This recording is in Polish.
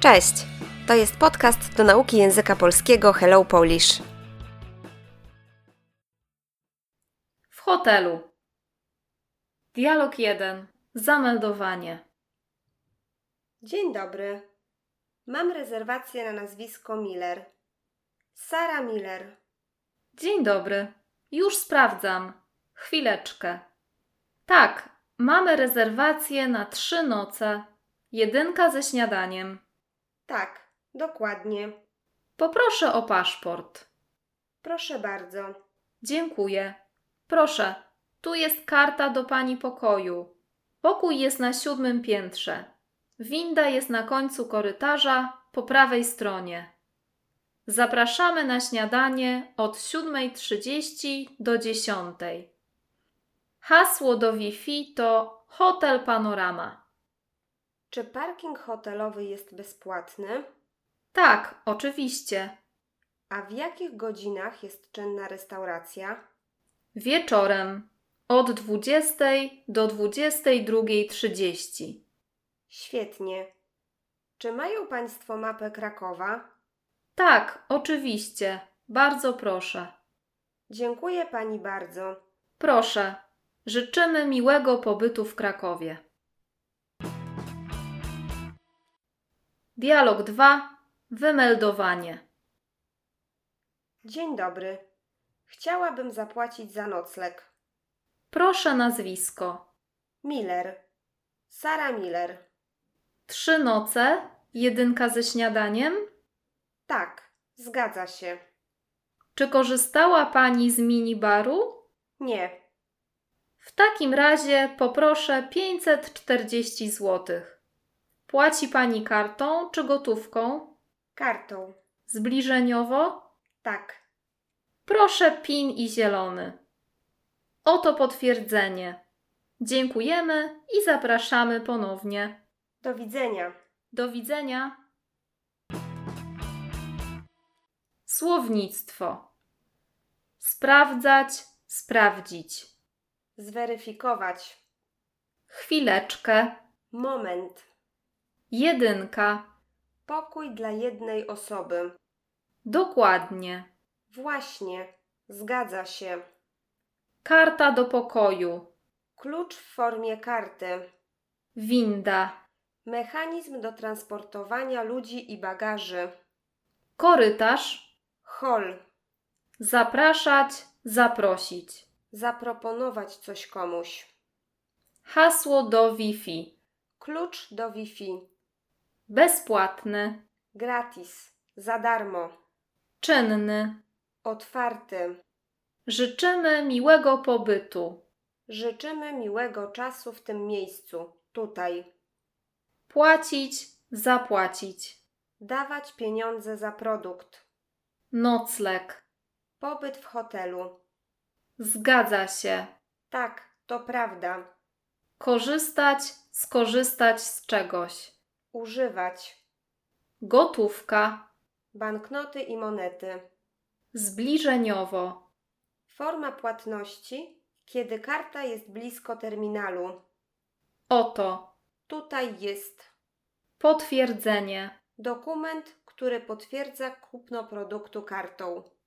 Cześć! To jest podcast do nauki języka polskiego Hello Polish. W hotelu. Dialog 1. Zameldowanie. Dzień dobry. Mam rezerwację na nazwisko Miller. Sara Miller. Dzień dobry. Już sprawdzam. Chwileczkę. Tak, mamy rezerwację na trzy noce. Jedynka ze śniadaniem. Tak, dokładnie. Poproszę o paszport. Proszę bardzo. Dziękuję. Proszę, tu jest karta do pani pokoju. Pokój jest na siódmym piętrze. Winda jest na końcu korytarza po prawej stronie. Zapraszamy na śniadanie od 7.30 do 10.00. Hasło do Wi-Fi to Hotel Panorama. Czy parking hotelowy jest bezpłatny? Tak, oczywiście. A w jakich godzinach jest czynna restauracja? Wieczorem od 20 do 22.30. Świetnie. Czy mają Państwo mapę Krakowa? Tak, oczywiście. Bardzo proszę. Dziękuję Pani bardzo. Proszę. Życzymy miłego pobytu w Krakowie. Dialog 2. Wymeldowanie. Dzień dobry. Chciałabym zapłacić za nocleg. Proszę nazwisko. Miller. Sara Miller. Trzy noce, jedynka ze śniadaniem. Tak, zgadza się. Czy korzystała Pani z minibaru? Nie, W takim razie poproszę 540 zł. Płaci Pani kartą czy gotówką? kartą. Zbliżeniowo? Tak, Proszę pin i zielony. Oto potwierdzenie. Dziękujemy i zapraszamy ponownie. do widzenia. Do widzenia. Słownictwo. Sprawdzać, sprawdzić. Zweryfikować. Chwileczkę. Moment. Jedynka. Pokój dla jednej osoby. Dokładnie. Właśnie, zgadza się. Karta do pokoju. Klucz w formie karty. Winda. Mechanizm do transportowania ludzi i bagaży. Korytarz. Hol. Zapraszać, zaprosić. Zaproponować coś komuś. Hasło do Wi-Fi. Klucz do Wi-Fi. Bezpłatny. Gratis. Za darmo. Czynny. Otwarty. Życzymy miłego pobytu. Życzymy miłego czasu w tym miejscu, tutaj. Płacić, zapłacić. Dawać pieniądze za produkt. Nocleg. Pobyt w hotelu. Zgadza się. Tak, to prawda. Korzystać, skorzystać z czegoś. Używać. Gotówka. Banknoty i monety. Zbliżeniowo. Forma płatności, kiedy karta jest blisko terminalu. Oto. Tutaj jest Potwierdzenie. dokument, który potwierdza kupno produktu kartą.